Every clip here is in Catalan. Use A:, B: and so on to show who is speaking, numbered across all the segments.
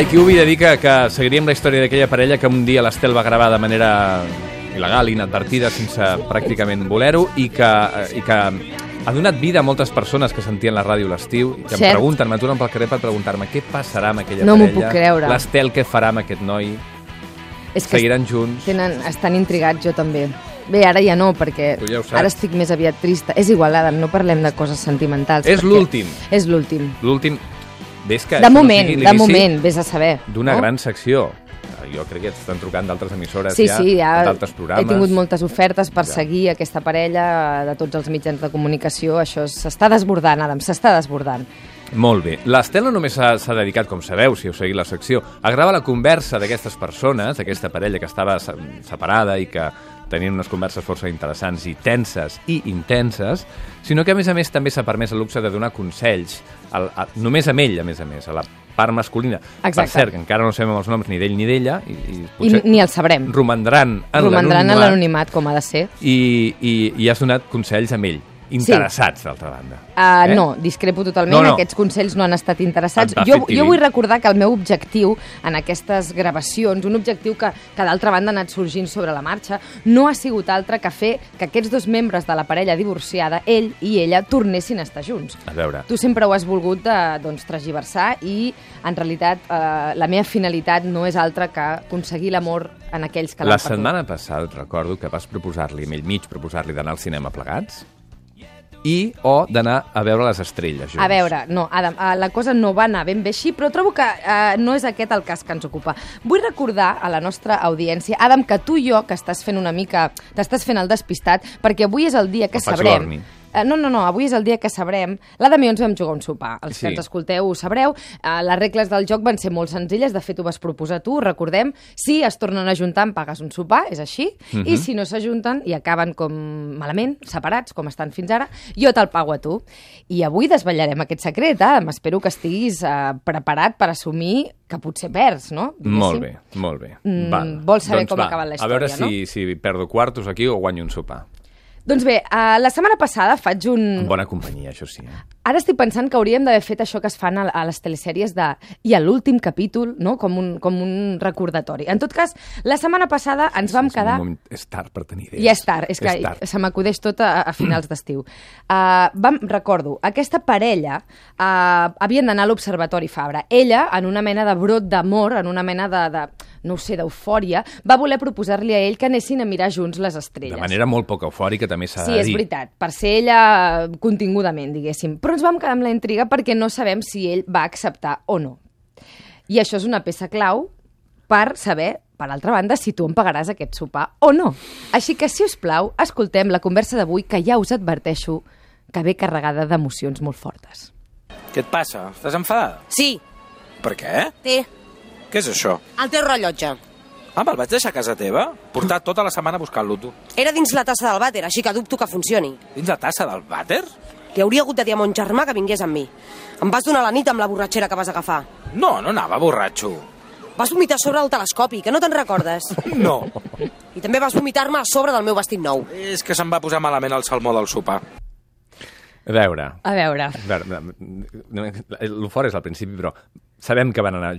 A: IQV dedica que seguiríem la història d'aquella parella que un dia l'Estel va gravar de manera il·legal, inadvertida, sense pràcticament voler-ho, i que, eh, i que ha donat vida a moltes persones que sentien la ràdio l'estiu i que
B: Cert.
A: em pregunten, m'aturen pel carrer per preguntar-me què passarà amb aquella
B: No m'ho
A: parella,
B: puc creure.
A: l'Estel què farà amb aquest noi,
B: És que
A: seguiran junts...
B: tenen, estan intrigats, jo també. Bé, ara ja no, perquè
A: Tu ja ho saps.
B: ara estic més aviat trista. És igual, Adam, no parlem de coses sentimentals.
A: És
B: perquè
A: l'últim.
B: És l'últim.
A: L'últim... Ves que
B: De
A: això
B: moment,
A: no sigui
B: de
A: l'inici
B: moment, vés a saber.
A: d'una
B: no?
A: gran secció. Eh, Jo crec que et estan trucant d'altres emissores
B: Sí,
A: ja,
B: sí, ja
A: d'altres programes.
B: he tingut moltes ofertes per
A: Ja.
B: seguir aquesta parella de tots els mitjans de comunicació. Això s'està desbordant, Adam, s'està desbordant.
A: Molt bé. L'Estela només s'ha s'ha dedicat, com sabeu, si heu seguit la secció, a gravar la conversa d'aquestes persones, d'aquesta parella que estava se- separada i que tenien unes converses força interessants i tenses i intenses, sinó que, a més a més, també s'ha permès el luxe de donar consells, al, a, només amb ell, a més a més, a la part masculina. Per
B: Exacte.
A: cert, que encara no sabem els noms ni d'ell ni d'ella, i, i
B: I
A: potser
B: ni el sabrem.
A: romandran en
B: Romandran en
A: l'anonimat
B: l'anonimat, com ha de ser.
A: i, i, i has donat consells amb ell, interessats, d'altra banda.
B: Uh, eh? No, discrepo totalment,
A: No, no.
B: aquests consells no han estat interessats.
A: Et va
B: Jo,
A: fer
B: jo
A: tilín.
B: vull recordar que el meu objectiu en aquestes gravacions, un objectiu que, que d'altra banda ha anat sorgint sobre la marxa, no ha sigut altre que fer que aquests dos membres de la parella divorciada, ell i ella, tornessin a estar junts.
A: A veure...
B: Tu sempre ho has volgut eh, doncs, tragiversar i, en realitat, eh, la meva finalitat no és altra que aconseguir l'amor en aquells que
A: La
B: l'han perdut.
A: setmana passada et recordo que vas proposar-li, amb ell mig, proposar-li d'anar al cinema plegats i o d'anar a veure les estrelles junts.
B: A veure, no, Adam, eh, la cosa no va anar ben bé així, però trobo que eh, no és aquest el cas que ens ocupa. Vull recordar a la nostra audiència, Adam, que tu i jo, que estàs fent una mica... t'estàs fent el despistat, perquè avui és el dia que
A: Em faig
B: sabrem...
A: l'orni.
B: Eh, No, no, no, avui és el dia que sabrem. L'Adam i jo ens vam jugar un sopar. Els
A: Sí.
B: que ens escolteu ho sabreu. Eh, Les regles del joc van ser molt senzilles. De fet, ho vas proposar tu, ho recordem. Si es tornen a juntar, en pagues un sopar, és així.
A: Mhm.
B: I si no s'ajunten i acaben com malament, separats, com estan fins ara, jo te'l pago a tu. I avui desvetllarem aquest secret, Adam. Espero que estiguis eh, preparat per assumir que potser perds, no? Diguéssim.
A: Molt bé, molt bé.
B: Mm,
A: Val.
B: vols saber
A: doncs
B: com
A: va,
B: ha acabat la
A: A veure
B: història,
A: si, si perdo quartos aquí o guanyo un sopar.
B: Doncs bé, eh, la setmana passada faig un...
A: En bona companyia, això sí. eh?
B: Ara estic pensant que hauríem d'haver fet això que es fan a a les telesèries de... i a l'últim capítol, no? com, un, com un recordatori. En tot cas, la setmana passada ens
A: És
B: vam
A: un
B: quedar...
A: moment- És tard per tenir idees.
B: Ja és tard, és que
A: És tard.
B: se m'acudeix tot a, a finals d'estiu. Uh, vam, recordo, aquesta parella uh, havien d'anar a l'Observatori Fabra. Ella, en una mena de brot d'amor, en una mena de, de no ho sé, d'eufòria, va voler proposar-li a ell que anessin a mirar junts les estrelles.
A: De manera molt poc eufòrica també s'ha
B: Sí,
A: de dir.
B: és veritat, per ser ella eh, contingudament, diguéssim. Però ens vam quedar amb la intriga perquè no sabem si ell va acceptar o no. I això és una peça clau per saber, per altra banda, si tu em pagaràs aquest sopar o no. Així que, si us plau, escoltem la conversa d'avui, que ja us adverteixo que ve carregada d'emocions molt fortes.
C: Què et passa? Estàs enfadada?
D: Sí,
C: Per què?
D: té,
C: Què és això?
D: el teu rellotge.
C: Ah, me'l vaig deixar a casa teva? Portar tota la setmana buscant-lo, tu.
D: Era dins la tassa del vàter, així que dubto que funcioni.
C: Dins la tassa del vàter?
D: Li hauria hagut de dir a mon germà que vingués amb mi. Em vas donar la nit amb la borratxera que vas agafar.
C: No, no anava borratxo.
D: Vas vomitar sobre el telescopi, que no te'n recordes.
C: No.
D: I també vas vomitar-me a sobre del meu vestit nou.
C: és que se'm va posar malament el salmó del sopar.
A: A veure,
B: A veure,
A: a veure no, l'eufòria és al principi, però sabem que van anar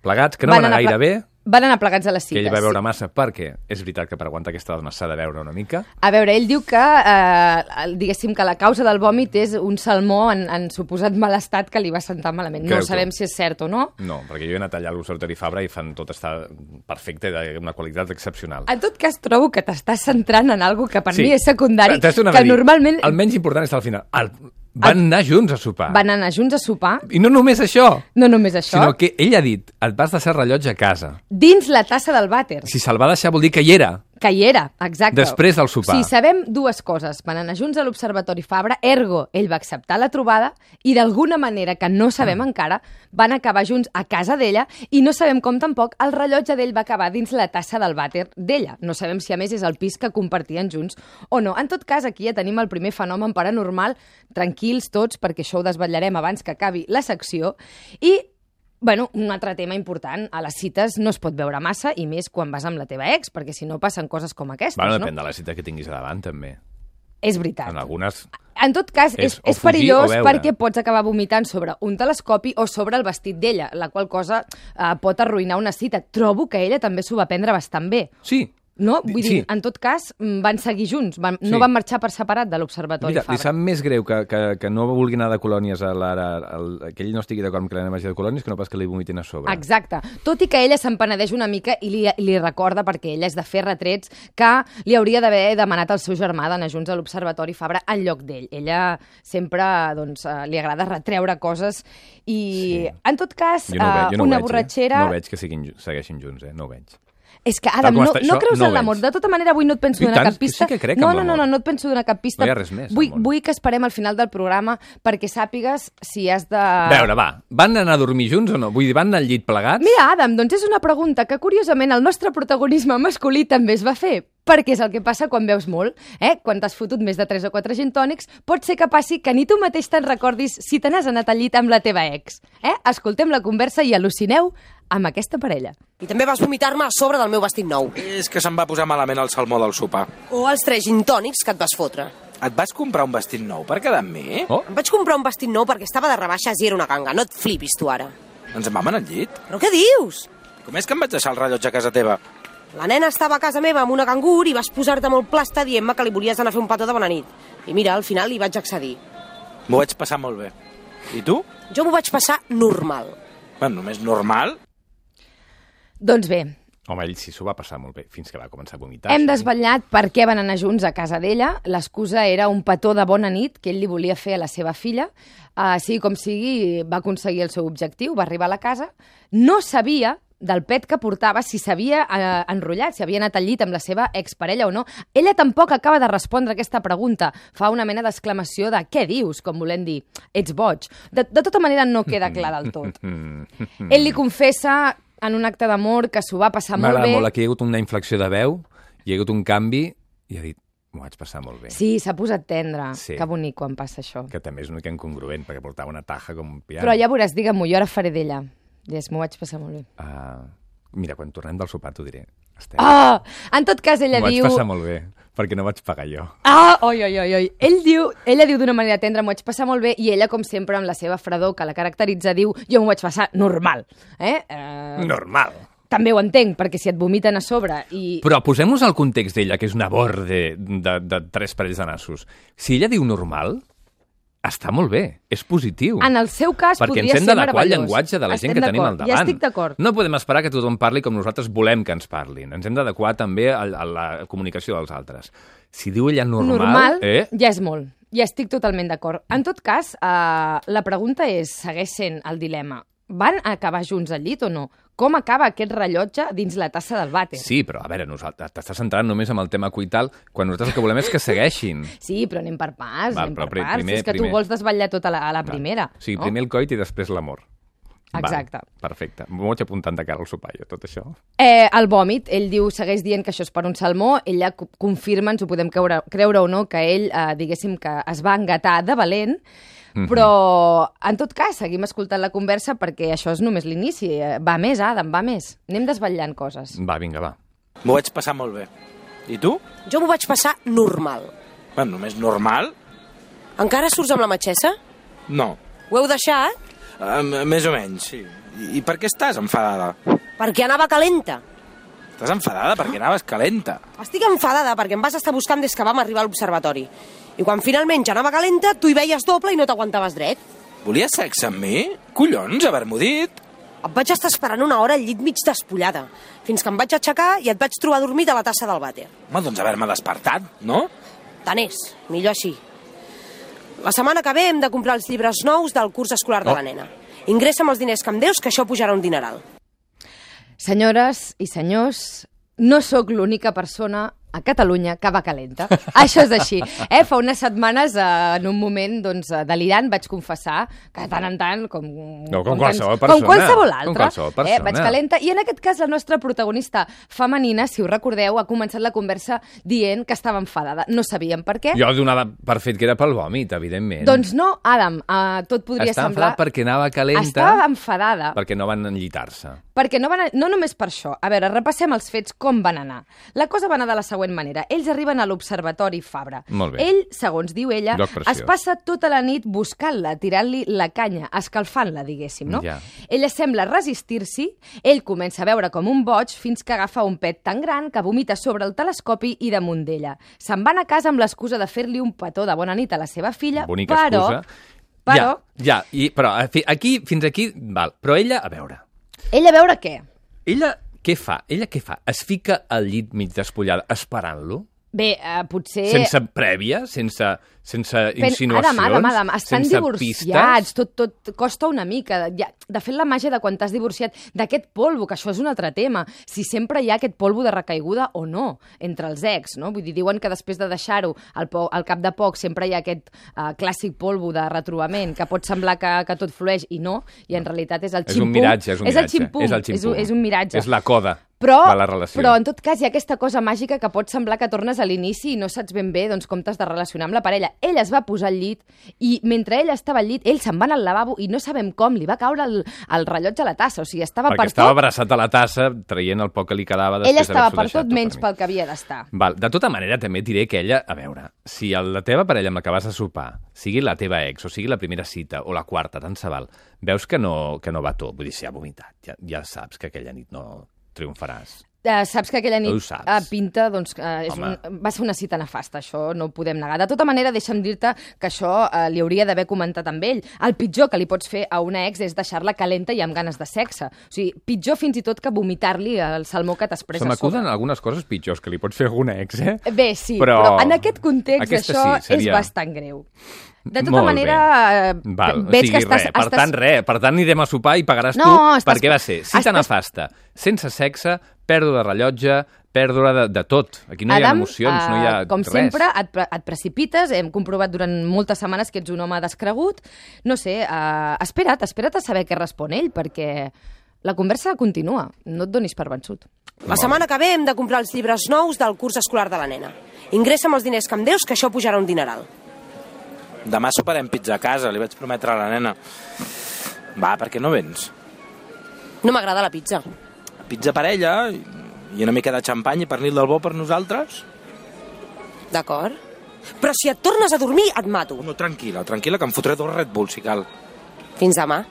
A: plegats, que no
B: Van
A: van, anar
B: anar
A: gaire
B: ple-
A: bé,
B: van anar plegats a les
A: que
B: cites.
A: ell va veure massa, perquè és veritat que per aguantar aquesta dona s'ha de veure una mica.
B: A veure, ell diu que, eh, el- diguéssim, que la causa del vòmit és un salmó en, en suposat mal estat que li va sentar malament.
A: Creu
B: no
A: tu?
B: sabem si és cert o no.
A: No, perquè jo he anat allà a l'Observatori Fabra i fan tot estar perfecte, d'una qualitat excepcional.
B: En tot cas, trobo que t'estàs centrant en algo que Ah, per sí. mi és secundari,
A: T'has donat
B: que
A: a dir,
B: normalment
A: El menys important és al final. El... Van anar junts a sopar.
B: van anar junts a sopar,
A: I no només això,
B: no només això,
A: sinó que ell ha dit, et vas deixar el rellotge a casa.
B: dins la tassa del vàter,
A: Si se'l va deixar vol dir que hi era.
B: que hi era, exacte.
A: Després del sopar.
B: Sí, sabem dues coses. Van anar junts a l'Observatori Fabra, ergo, ell va acceptar la trobada i d'alguna manera, que no sabem encara, van acabar junts a casa d'ella i no sabem com tampoc el rellotge d'ell va acabar dins la tassa del vàter d'ella. No sabem si a més és el pis que compartien junts o no. En tot cas, aquí ja tenim el primer fenomen paranormal. Tranquils tots, perquè això ho desvetllarem abans que acabi la secció. I Bueno, un altre tema important, a les cites no es pot veure massa, i més quan vas amb la teva ex, perquè si no passen coses com aquestes,
A: Bueno,
B: no?
A: depèn de la cita que tinguis a davant, també.
B: És veritat.
A: En algunes
B: En tot cas, és,
A: És
B: és,
A: o
B: és
A: fugir
B: perillós
A: o veure.
B: perquè pots acabar vomitant sobre un telescopi o sobre el vestit d'ella, la qual cosa eh, pot arruïnar una cita. Trobo que ella també s'ho va prendre bastant bé.
A: Sí.
B: No? Vull
A: Sí.
B: dir, en tot cas, mm, van seguir junts, van,
A: Sí.
B: no van marxar per separat de l'Observatori
A: Mira,
B: Fabra.
A: li sap més greu que, que, que no vulgui anar de colònies a l'ara, al- que ell no estigui d'acord amb que l'anem a de colònies, que no pas que li vomitin a sobre.
B: Exacte. Tot i que ella se'n penedeix una mica i li, li recorda, perquè ella és de fer retrets, que li hauria d'haver demanat al seu germà d'anar junts a l'Observatori Fabra en lloc d'ell. Ella sempre doncs, eh, li agrada retreure coses i,
A: Sí.
B: en tot cas,
A: Jo no ho veig,
B: eh,
A: jo no ho
B: una
A: veig,
B: borratxera...
A: Eh? No veig que siguin, ju- segueixin junts, eh? No ho veig.
B: És que,
A: Tal
B: Adam,
A: com
B: no,
A: està
B: no
A: això,
B: creus
A: no ho
B: en l'amor.
A: veig.
B: De tota manera, avui no et penso
A: I
B: donar
A: tant,
B: cap
A: que
B: pista.
A: sí que crec
B: no,
A: en
B: no, no,
A: l'amor.
B: no, no et penso donar cap pista.
A: No hi ha res més,
B: Vull,
A: amor.
B: vull que esperem al final del programa perquè sàpigues si has de...
A: A veure, va, van anar a dormir junts o no? Vull dir, van anar al llit plegats?
B: Mira, Adam, doncs és una pregunta que, curiosament, el nostre protagonisme masculí també es va fer perquè és el que passa quan veus molt, eh? Quan t'has fotut més de 3 o 4 gintònics, pot ser que passi que ni tu mateix te'n recordis si te n'has anat al llit amb la teva ex. Eh? Escoltem la conversa i al·lucineu amb aquesta parella.
D: I també vas vomitar-me a sobre del meu vestit nou.
C: És que se'n va posar malament el salmó del sopar.
D: O els tres gintònics que et vas fotre.
C: Et vas comprar un vestit nou per quedar amb mi?
A: Oh,
D: Em vaig comprar un vestit nou perquè estava de rebaixes i era una ganga. No et flipis, tu, ara.
C: Ens en vam anar al llit?
D: Però què dius?
C: Com és que em vaig deixar el rellotge a casa teva?
D: La nena estava a casa meva amb una cangur i vas posar-te molt plasta dient-me que li volies anar a fer un petó de bona nit. I mira, al final hi vaig accedir.
C: M'ho vaig passar molt bé. I tu?
D: Jo m'ho vaig passar normal.
C: Bueno, només normal.
B: Doncs bé,
A: home, ell sí s'ho va passar molt bé, fins que va començar a vomitar.
B: Hem
A: sí.
B: desvetllat per què van anar junts a casa d'ella. L'excusa era un petó de bona nit que ell li volia fer a la seva filla. Uh, sigui com sigui, va aconseguir el seu objectiu, va arribar a la casa. No sabia del pet que portava, si s'havia eh, enrotllat, si havia anat al llit amb la seva exparella o no. Ella tampoc acaba de respondre aquesta pregunta. Fa una mena d'exclamació de què dius, com volent dir, ets boig. De, de tota manera, no queda clar del tot.
A: Mm.
B: Ell li confessa en un acte d'amor que s'ho va passar molt
A: M'agrada
B: bé.
A: molt, aquí hi ha hagut una inflexió de veu, hi ha hagut un canvi i ha dit, m'ho vaig passar molt bé.
B: Sí, s'ha posat tendre.
A: Sí.
B: Sí. Que bonic quan passa això.
A: Que també és una mica incongruent, perquè portava una taja com un piano.
B: Però ja veuràs, digue-m'ho, jo ara faré d'ella. Yes, m'ho vaig passar molt bé.
A: Ah, mira, quan tornem del sopar t'ho diré. Esteu,
B: Oh! En tot cas, ella
A: m'ho vaig
B: diu...
A: passar molt bé, perquè no vaig pagar jo.
B: Ah, oi, oi, oi, oi. Ell diu, ella diu d'una manera tendra, m'ho vaig passar molt bé, i ella, com sempre, amb la seva fredor que la caracteritza, diu, jo m'ho vaig passar normal. Eh? Eh,
A: Normal.
B: També ho entenc, perquè si et vomiten a sobre i...
A: Però posem-nos al context d'ella, que és una borde de, de tres parells de nassos. Si ella diu normal, està molt bé, és positiu.
B: En el seu cas,
A: perquè
B: podria
A: ens hem
B: ser
A: d'adequar al
B: meravellós.
A: llenguatge de la gent
B: Estem
A: que tenim al
B: d'acord,
A: davant.
B: Ja estic d'acord.
A: No podem esperar que tothom parli com nosaltres volem que ens parlin. Ens hem d'adequar també a, a la comunicació dels altres. Si diu ella normal...
B: normal,
A: eh?
B: ja és molt. Ja estic totalment d'acord. En tot cas, eh, la pregunta és, segueix sent el dilema, van acabar junts al llit o no? Com acaba aquest rellotge dins la tassa del vàter?
A: Sí, però a veure, nosaltres t'estàs centrant només en el tema coital quan nosaltres el que volem és que segueixin.
B: Sí, però anem per pas,
A: Val,
B: anem
A: però
B: per
A: pri-
B: parts.
A: primer-
B: és que
A: primer.
B: tu vols desvetllar tota la, a la primera. Oh.
A: O sigui, primer el coit i després l'amor. Val,
B: Exacte.
A: perfecte. M'ho vaig apuntant de cara al sopar, jo, tot això.
B: Eh, el vòmit, ell diu, segueix dient que això és per un salmó, ella co- confirma, ens ho podem creure, creure o no, que ell, eh, diguéssim, que es va engatar de valent, però, en tot cas, seguim escoltant la conversa perquè això és només l'inici. Eh, Va més, Adam, va més. Anem desvetllant coses.
A: Va, vinga, va.
C: M'ho vaig passar molt bé. I tu?
D: Jo m'ho vaig passar normal.
C: Bueno, només normal?
D: Encara surts amb la matxessa?
C: No.
D: Ho heu deixat?
C: Um, més o menys, sí. I, I per què estàs enfadada?
D: Perquè anava calenta.
C: Estàs enfadada perquè anaves calenta.
D: Estic enfadada perquè em vas estar buscant des que vam arribar a l'observatori. I quan finalment ja anava calenta, tu hi veies doble i no t'aguantaves dret.
C: Volies sexe amb mi? Collons, haver-m'ho dit.
D: Et vaig estar esperant una hora al llit mig despullada, fins que em vaig aixecar i et vaig trobar dormit a la tassa del vàter.
C: Home, doncs haver-me despertat, no?
D: Tant és, millor així. La setmana que ve hem de comprar els llibres nous del curs escolar de
A: Oh.
D: la nena. Ingressa'm els diners que em deus, que això pujarà un dineral.
B: Senyores i senyors, no sóc l'única persona a Catalunya que va calenta. Això és així. Eh? Fa unes setmanes, eh, en un moment doncs, eh, delirant, vaig confessar que de tant en tant, com,
A: No, com qualsevol
B: Com
A: persona.
B: qualsevol
A: Com
B: altra,
A: qualsevol
B: eh, vaig
A: persona.
B: calenta. I en aquest cas, la nostra protagonista femenina, si ho recordeu, ha començat la conversa dient que estava enfadada. No sabíem per què.
A: Jo donava per fet que era pel vòmit, evidentment.
B: Eh? Doncs no, Adam, eh, tot podria
A: Estava
B: semblar...
A: enfadat perquè anava calenta,
B: Estava enfadada.
A: perquè no van enllitar-se.
B: Perquè no, van, a- no només per això. A veure, repassem els fets com van anar. La cosa va anar de la següent següent manera. Ells arriben a l'Observatori Fabra.
A: Molt bé.
B: Ell, segons diu ella,
A: Lloc preciós.
B: es passa tota la nit buscant-la, tirant-li la canya, escalfant-la, diguéssim, no?
A: Ja.
B: Ella sembla resistir-s'hi, ell comença a veure com un boig fins que agafa un pet tan gran que vomita sobre el telescopi i damunt d'ella. Se'n van a casa amb l'excusa de fer-li un petó de bona nit a la seva filla,
A: Bonica
B: però...
A: excusa.
B: Però,
A: Ja, ja i, però a fi- aquí, fins aquí, val. Però ella, a veure,
B: ella a veure què?
A: ella què fa? Ella què fa? Es fica al llit mig despullada esperant-lo?
B: Bé, eh, potser...
A: Sense prèvia? Sense, sense
B: Pen-
A: insinuacions?
B: Ara, mà, demà, demà. Estan
A: sense
B: divorciats,
A: Pistes?
B: tot, tot costa una mica. Ja, de fet, la màgia de quan t'has divorciat d'aquest polvo, que això és un altre tema, si sempre hi ha aquest polvo de recaiguda o no entre els ex, no? Vull dir, diuen que després de deixar-ho al, po- al cap de poc sempre hi ha aquest uh, clàssic polvo de retrobament que pot semblar que, que tot flueix i no, i en realitat és el
A: És un
B: ximpum.
A: miratge, és un
B: és el
A: miratge.
B: ximpum,
A: És, el
B: és, un,
A: ximpum.
B: és un miratge.
A: És la coda
B: Però,
A: de la relació.
B: però, en tot cas, hi ha aquesta cosa màgica que pot semblar que tornes a l'inici i no saps ben bé doncs, com t'has de relacionar amb la parella. Ell es va posar al llit i mentre ell estava al llit, ell se'n va anar al lavabo i no sabem com, li va caure el, el rellotge a la tassa. O sigui, estava
A: Perquè
B: per
A: estava
B: tot,
A: abraçat a la tassa, traient el poc que li quedava després
B: ell
A: d'haver-s'ho
B: estava per
A: deixat
B: tot menys
A: per mi.
B: pel que havia d'estar.
A: Val, de tota manera, també et diré que ella, a veure, si el- la teva parella amb la que vas a sopar, sigui la teva ex, o sigui la primera cita, o la quarta, tant se val, veus que no, que no va tot, vull dir, si ha vomitat, ja, ja saps que aquella nit no triomfaràs.
B: Uh, saps que aquella nit
A: Ho saps.
B: eh, pinta, doncs, uh, és
A: Home.
B: un, va ser una cita nefasta, això no ho podem negar. De tota manera, deixa'm dir-te que això uh, li hauria d'haver comentat amb ell. El pitjor que li pots fer a una ex és deixar-la calenta i amb ganes de sexe. O sigui, pitjor fins i tot que vomitar-li el salmó que t'has pres
A: Se
B: a
A: m'acuden
B: sobre.
A: algunes coses pitjors que li pots fer a alguna ex, eh?
B: Bé, sí,
A: Però
B: però, però en aquest context
A: aquesta
B: això
A: sí, seria-
B: és bastant greu. De tota
A: Molt bé.
B: manera, eh,
A: Val,
B: veig
A: o sigui,
B: que estàs...
A: Res, per
B: estàs...
A: tant, res. Per tant, anirem a sopar i pagaràs
B: No,
A: tu
B: estàs-
A: perquè va ser cita
B: estàs-
A: nefasta, sense sexe, pèrdua de rellotge, pèrdua de, de tot. Aquí no hi ha
B: Adam,
A: emocions,
B: eh,
A: no hi ha
B: com
A: res.
B: sempre, et, pre- et precipites. Hem comprovat durant moltes setmanes que ets un home descregut. No sé, eh, espera't, espera't a saber què respon ell, perquè la conversa continua. No et donis per vençut.
D: La setmana que ve hem de comprar els llibres nous del curs escolar de la nena. Ingressa'm els diners que em deus, que això pujarà un dineral.
C: Demà soparem pizza a casa, li vaig prometre a la nena. Va, per què no vens?
D: No m'agrada la pizza.
C: Pizza parella i- i una mica de xampany i pernil del bo per nosaltres?
D: D'acord? Però si et tornes a dormir, et mato.
C: Oh, No, tranquil·la, tranquil·la, que em fotré dos Red Bull si cal.
D: Fins demà.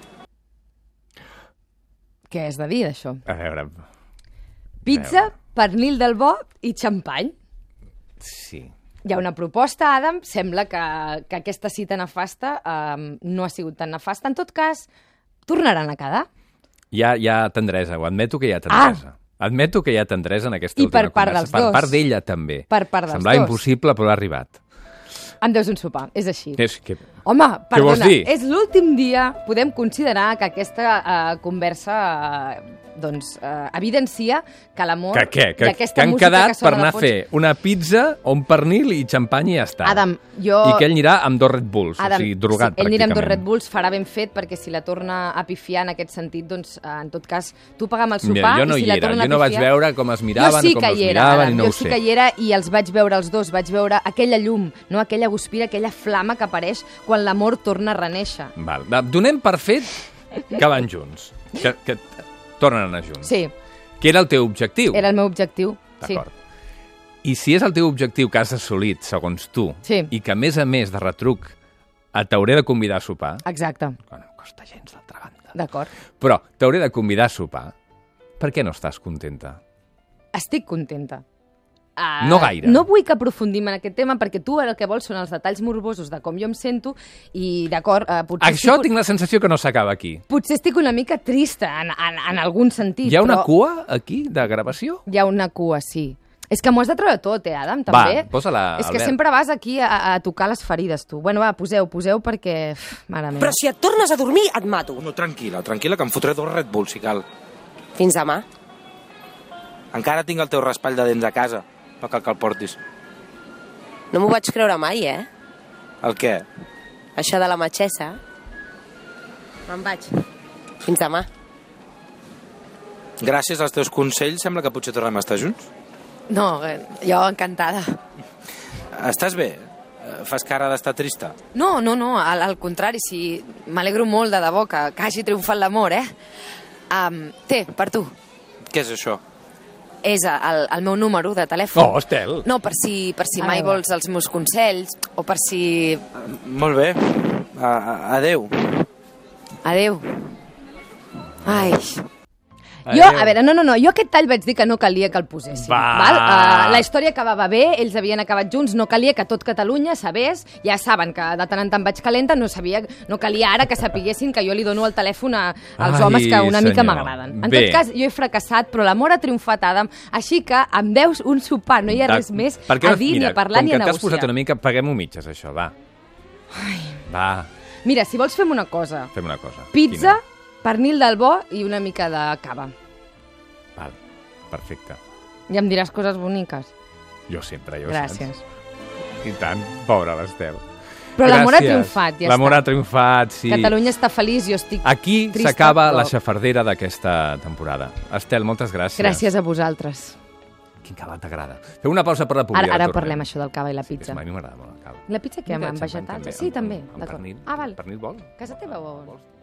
B: Què has de dir d'això?
A: A veure,
B: Pizza, pernil del bo i xampany.
A: sí.
B: Hi ha una proposta, Adam. Sembla que, que aquesta cita nefasta eh, no ha sigut tan nefasta. En tot cas, tornaran a quedar.
A: Hi ha, hi ha tendresa, ho admeto que hi ha tendresa. Ah. Admeto que hi ha tendresa en aquesta
B: I
A: última
B: per part
A: conversa.
B: dels
A: per
B: dos.
A: part d'ella, també.
B: Per part dels
A: Semblava
B: dos.
A: impossible, però ha arribat.
B: Em deus un sopar, és així.
A: És que...
B: Home,
A: Què vols
B: perdona,
A: dir?
B: és l'últim dia, podem considerar que aquesta eh, conversa eh, doncs, eh, evidencia que l'amor...
A: Que què?
B: i
A: Que,
B: aquesta
A: que han
B: música
A: quedat per
B: que sona de
A: anar a
B: fons-
A: fer una pizza o un pernil i xampany i ja està.
B: Adam, jo-
A: I que ell anirà amb dos Red Bulls, o sigui, drogat,
B: sí, ell anirà
A: pràcticament.
B: amb dos Red Bulls, farà ben fet, perquè si la torna a pifiar en aquest sentit, doncs, eh, en tot cas, tu paga'm el sopar
A: Mira, jo no
B: i si
A: hi
B: la
A: era,
B: torna
A: jo no
B: a
A: vaig
B: pifiar...
A: veure com es miraven,
B: jo sí
A: com
B: que
A: els
B: hi era,
A: miraven,
B: Adam,
A: i no ho
B: jo sí
A: sé.
B: que hi era i els vaig veure els dos, vaig veure aquella llum, no aquella guspira, aquella flama que apareix quan l'amor torna a reneixer.
A: Val. va, Donem per fet que van junts, que, que tornen a anar junts.
B: Sí,
A: Que era el teu objectiu.
B: era el meu objectiu. Sí.
A: D'acord. I si és el teu objectiu que has assolit, segons tu,
B: Sí.
A: i que, a més a més, de retruc, eh, t'hauré de convidar a sopar,
B: Exacte,
A: que no em costa gens, d'altra banda,
B: d'acord.
A: però t'hauré de convidar a sopar, per què no estàs contenta?
B: Estic contenta. Uh,
A: No gaire.
B: No vull que aprofundim en aquest tema perquè tu el que vols són els detalls morbosos de com jo em sento i d'acord, uh, potser,
A: Això
B: estic,
A: tinc la sensació que no s'acaba aquí.
B: potser estic una mica trista en, en, en algun sentit.
A: Hi ha una
B: però
A: cua aquí, de gravació?
B: Hi ha una cua, sí. És que m'ho has de treure tot, eh, Adam, també.
A: Va, posa-la,
B: És que
A: Albert.
B: sempre vas aquí a, a tocar les ferides, tu. Bueno, va, poseu, poseu perquè... Uf, mare meva.
D: Però si et tornes a dormir, et mato.
C: Oh, No, tranquil·la, tranquil·la, que em fotré dos Red Bull si cal.
D: Fins demà.
C: Encara tinc el teu raspall de dents a casa. No cal que el portis.
D: No m'ho vaig creure mai, eh?
C: El què?
D: Això de la matxessa. Me'n vaig. Fins demà.
C: Gràcies als teus consells sembla que potser tornem a estar junts.
D: No, eh, jo encantada.
C: Estàs bé? Eh, Fas cara d'estar trista?
D: No, no, no, al, al contrari, sí, m'alegro molt de debò que, que hagi triomfat l'amor, eh? Um, té, per tu.
C: Què és això?
E: és el, el meu número de telèfon.
A: Oh, Estel!
E: No, per si, per si
B: Ah,
E: mai
B: va.
E: vols els meus consells, o per si...
C: Molt bé. A, a, adeu.
E: Adeu. Ai,
B: Jo, a veure, no, no, no, jo aquest tall vaig dir que no calia que el posessin.
A: Va.
B: Val? Uh, la història acabava bé, ells havien acabat junts, no calia que tot Catalunya sabés, ja saben que de tant en tant vaig calenta, no sabia, no calia ara que sapiguessin que jo li dono el telèfon a, als
A: Ai,
B: homes que una mica
A: senyor.
B: m'agraden. En
A: Bé.
B: tot cas, jo he fracassat, però l'amor ha triomfat, Adam, així que em deus un sopar, no hi ha res més
A: Per què
B: a
A: no-
B: dir, ni
A: mira,
B: a parlar, ni
A: Com que
B: a
A: t'has
B: negociar.
A: posat una mica, paguem-ho mitges, això, va. Va,
B: Mira, si vols fem una cosa,
A: fem una cosa.
B: pizza, pernil del bo i una mica de cava.
A: Quina? Val, perfecte.
B: Ja em diràs coses boniques.
A: Jo sempre, jo
B: Gràcies.
A: Saps? I tant, pobra l'Estel.
B: Però l'amor ha
A: Gràcies.
B: triomfat, ja
A: L'amor
B: està.
A: ha triomfat, sí.
B: Catalunya està feliç, jo estic
A: Aquí
B: trista,
A: s'acaba
B: però
A: la xafardera d'aquesta temporada. Estel, moltes gràcies.
B: Gràcies a vosaltres.
A: Quin cava t'agrada. Feu una pausa per la publi.
B: Ara, ara
A: tornem.
B: parlem això del cava i la
A: Sí, és-
B: pizza.
A: a mi m'agrada molt el cava.
B: La pizza què, amb, amb vegetals? Sí, també.
A: Amb, amb
B: D'acord.
A: pernil.
B: Ah, val.
A: Pernil vols?
B: Casa teva o...
A: Vols?